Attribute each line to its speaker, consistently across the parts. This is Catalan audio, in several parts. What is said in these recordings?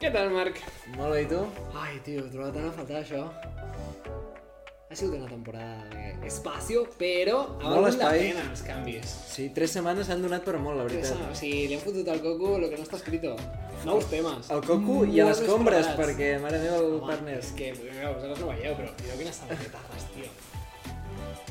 Speaker 1: Què tal, Marc?
Speaker 2: Molt bé, i tu? Ai, tio, he trobat tan a faltar això. Ha sigut una temporada de espacio, però ha
Speaker 1: Molt
Speaker 2: valgut la
Speaker 1: espai.
Speaker 2: pena els canvis.
Speaker 1: Sí, tres setmanes s'han donat per molt, la
Speaker 2: Tres,
Speaker 1: veritat.
Speaker 2: o sigui, li han fotut al coco lo que no està escrito. Nous temes.
Speaker 1: El coco i a les
Speaker 2: Molt
Speaker 1: compres,
Speaker 2: esperats.
Speaker 1: perquè, mare meva, el
Speaker 2: Home,
Speaker 1: partner.
Speaker 2: És que, mira, vosaltres no veieu, però mireu quines samarretazes, tio.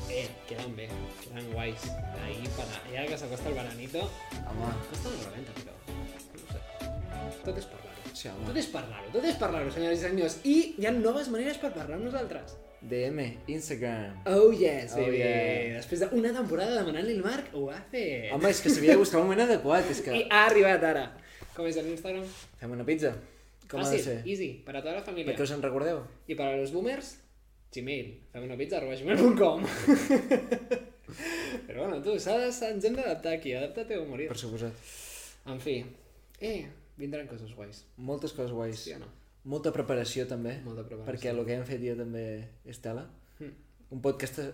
Speaker 2: Eh, queden bé, queden guais. Ahí, para... Ja que s'acosta el veranito,
Speaker 1: Home,
Speaker 2: no està molt valenta, però... No ho sé. Tot és parlar-ho.
Speaker 1: sí,
Speaker 2: Tot
Speaker 1: home.
Speaker 2: és parlar-ho, tot és parlar-ho, senyores i senyors. I hi ha noves maneres per parlar amb nosaltres.
Speaker 1: DM, Instagram.
Speaker 2: Oh yes,
Speaker 1: Oh,
Speaker 2: baby.
Speaker 1: yeah.
Speaker 2: Després d'una temporada demanant-li el Marc, ho ha fet.
Speaker 1: Home, és que s'havia de buscar un moment adequat, és
Speaker 2: I
Speaker 1: que...
Speaker 2: ha arribat ara. Com és l'Instagram?
Speaker 1: Fem una pizza.
Speaker 2: Ah,
Speaker 1: Com ha de ser?
Speaker 2: easy, per a tota la família.
Speaker 1: Perquè us en recordeu?
Speaker 2: I per a los boomers, Gmail. Fem una pizza arroba gmail.com Però bueno, tu, s'ha de, s'ha- ens hem d'adaptar aquí. Adapta-te o morir.
Speaker 1: Per suposat.
Speaker 2: En fi. Eh, vindran coses guais.
Speaker 1: Moltes coses guais.
Speaker 2: Sí o no?
Speaker 1: Molta preparació, també.
Speaker 2: Molta preparació.
Speaker 1: Perquè el que hem fet jo també és tela.
Speaker 2: Mm.
Speaker 1: Un podcast eh,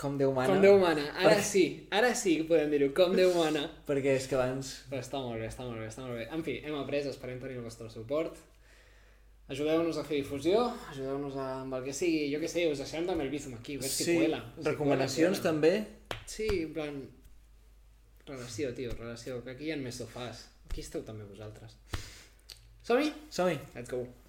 Speaker 1: com Déu mana.
Speaker 2: Com Déu mana. Ara sí, ara sí que podem dir-ho. Com Déu mana.
Speaker 1: Perquè és que abans...
Speaker 2: Però està molt bé, està molt bé, està molt bé. En fi, hem après, esperem tenir el vostre suport. Ajudeu-nos a fer difusió, ajudeu-nos a, amb el que sigui, jo que sé, us deixem també el Bizum aquí, a veure si cuela. si
Speaker 1: recomanacions
Speaker 2: cuela,
Speaker 1: també.
Speaker 2: cuela. Sí, en plan... Relació, tio, relació, que aquí hi ha més sofàs. Aquí esteu també vosaltres. Som-hi?
Speaker 1: Som-hi.
Speaker 2: Let's go.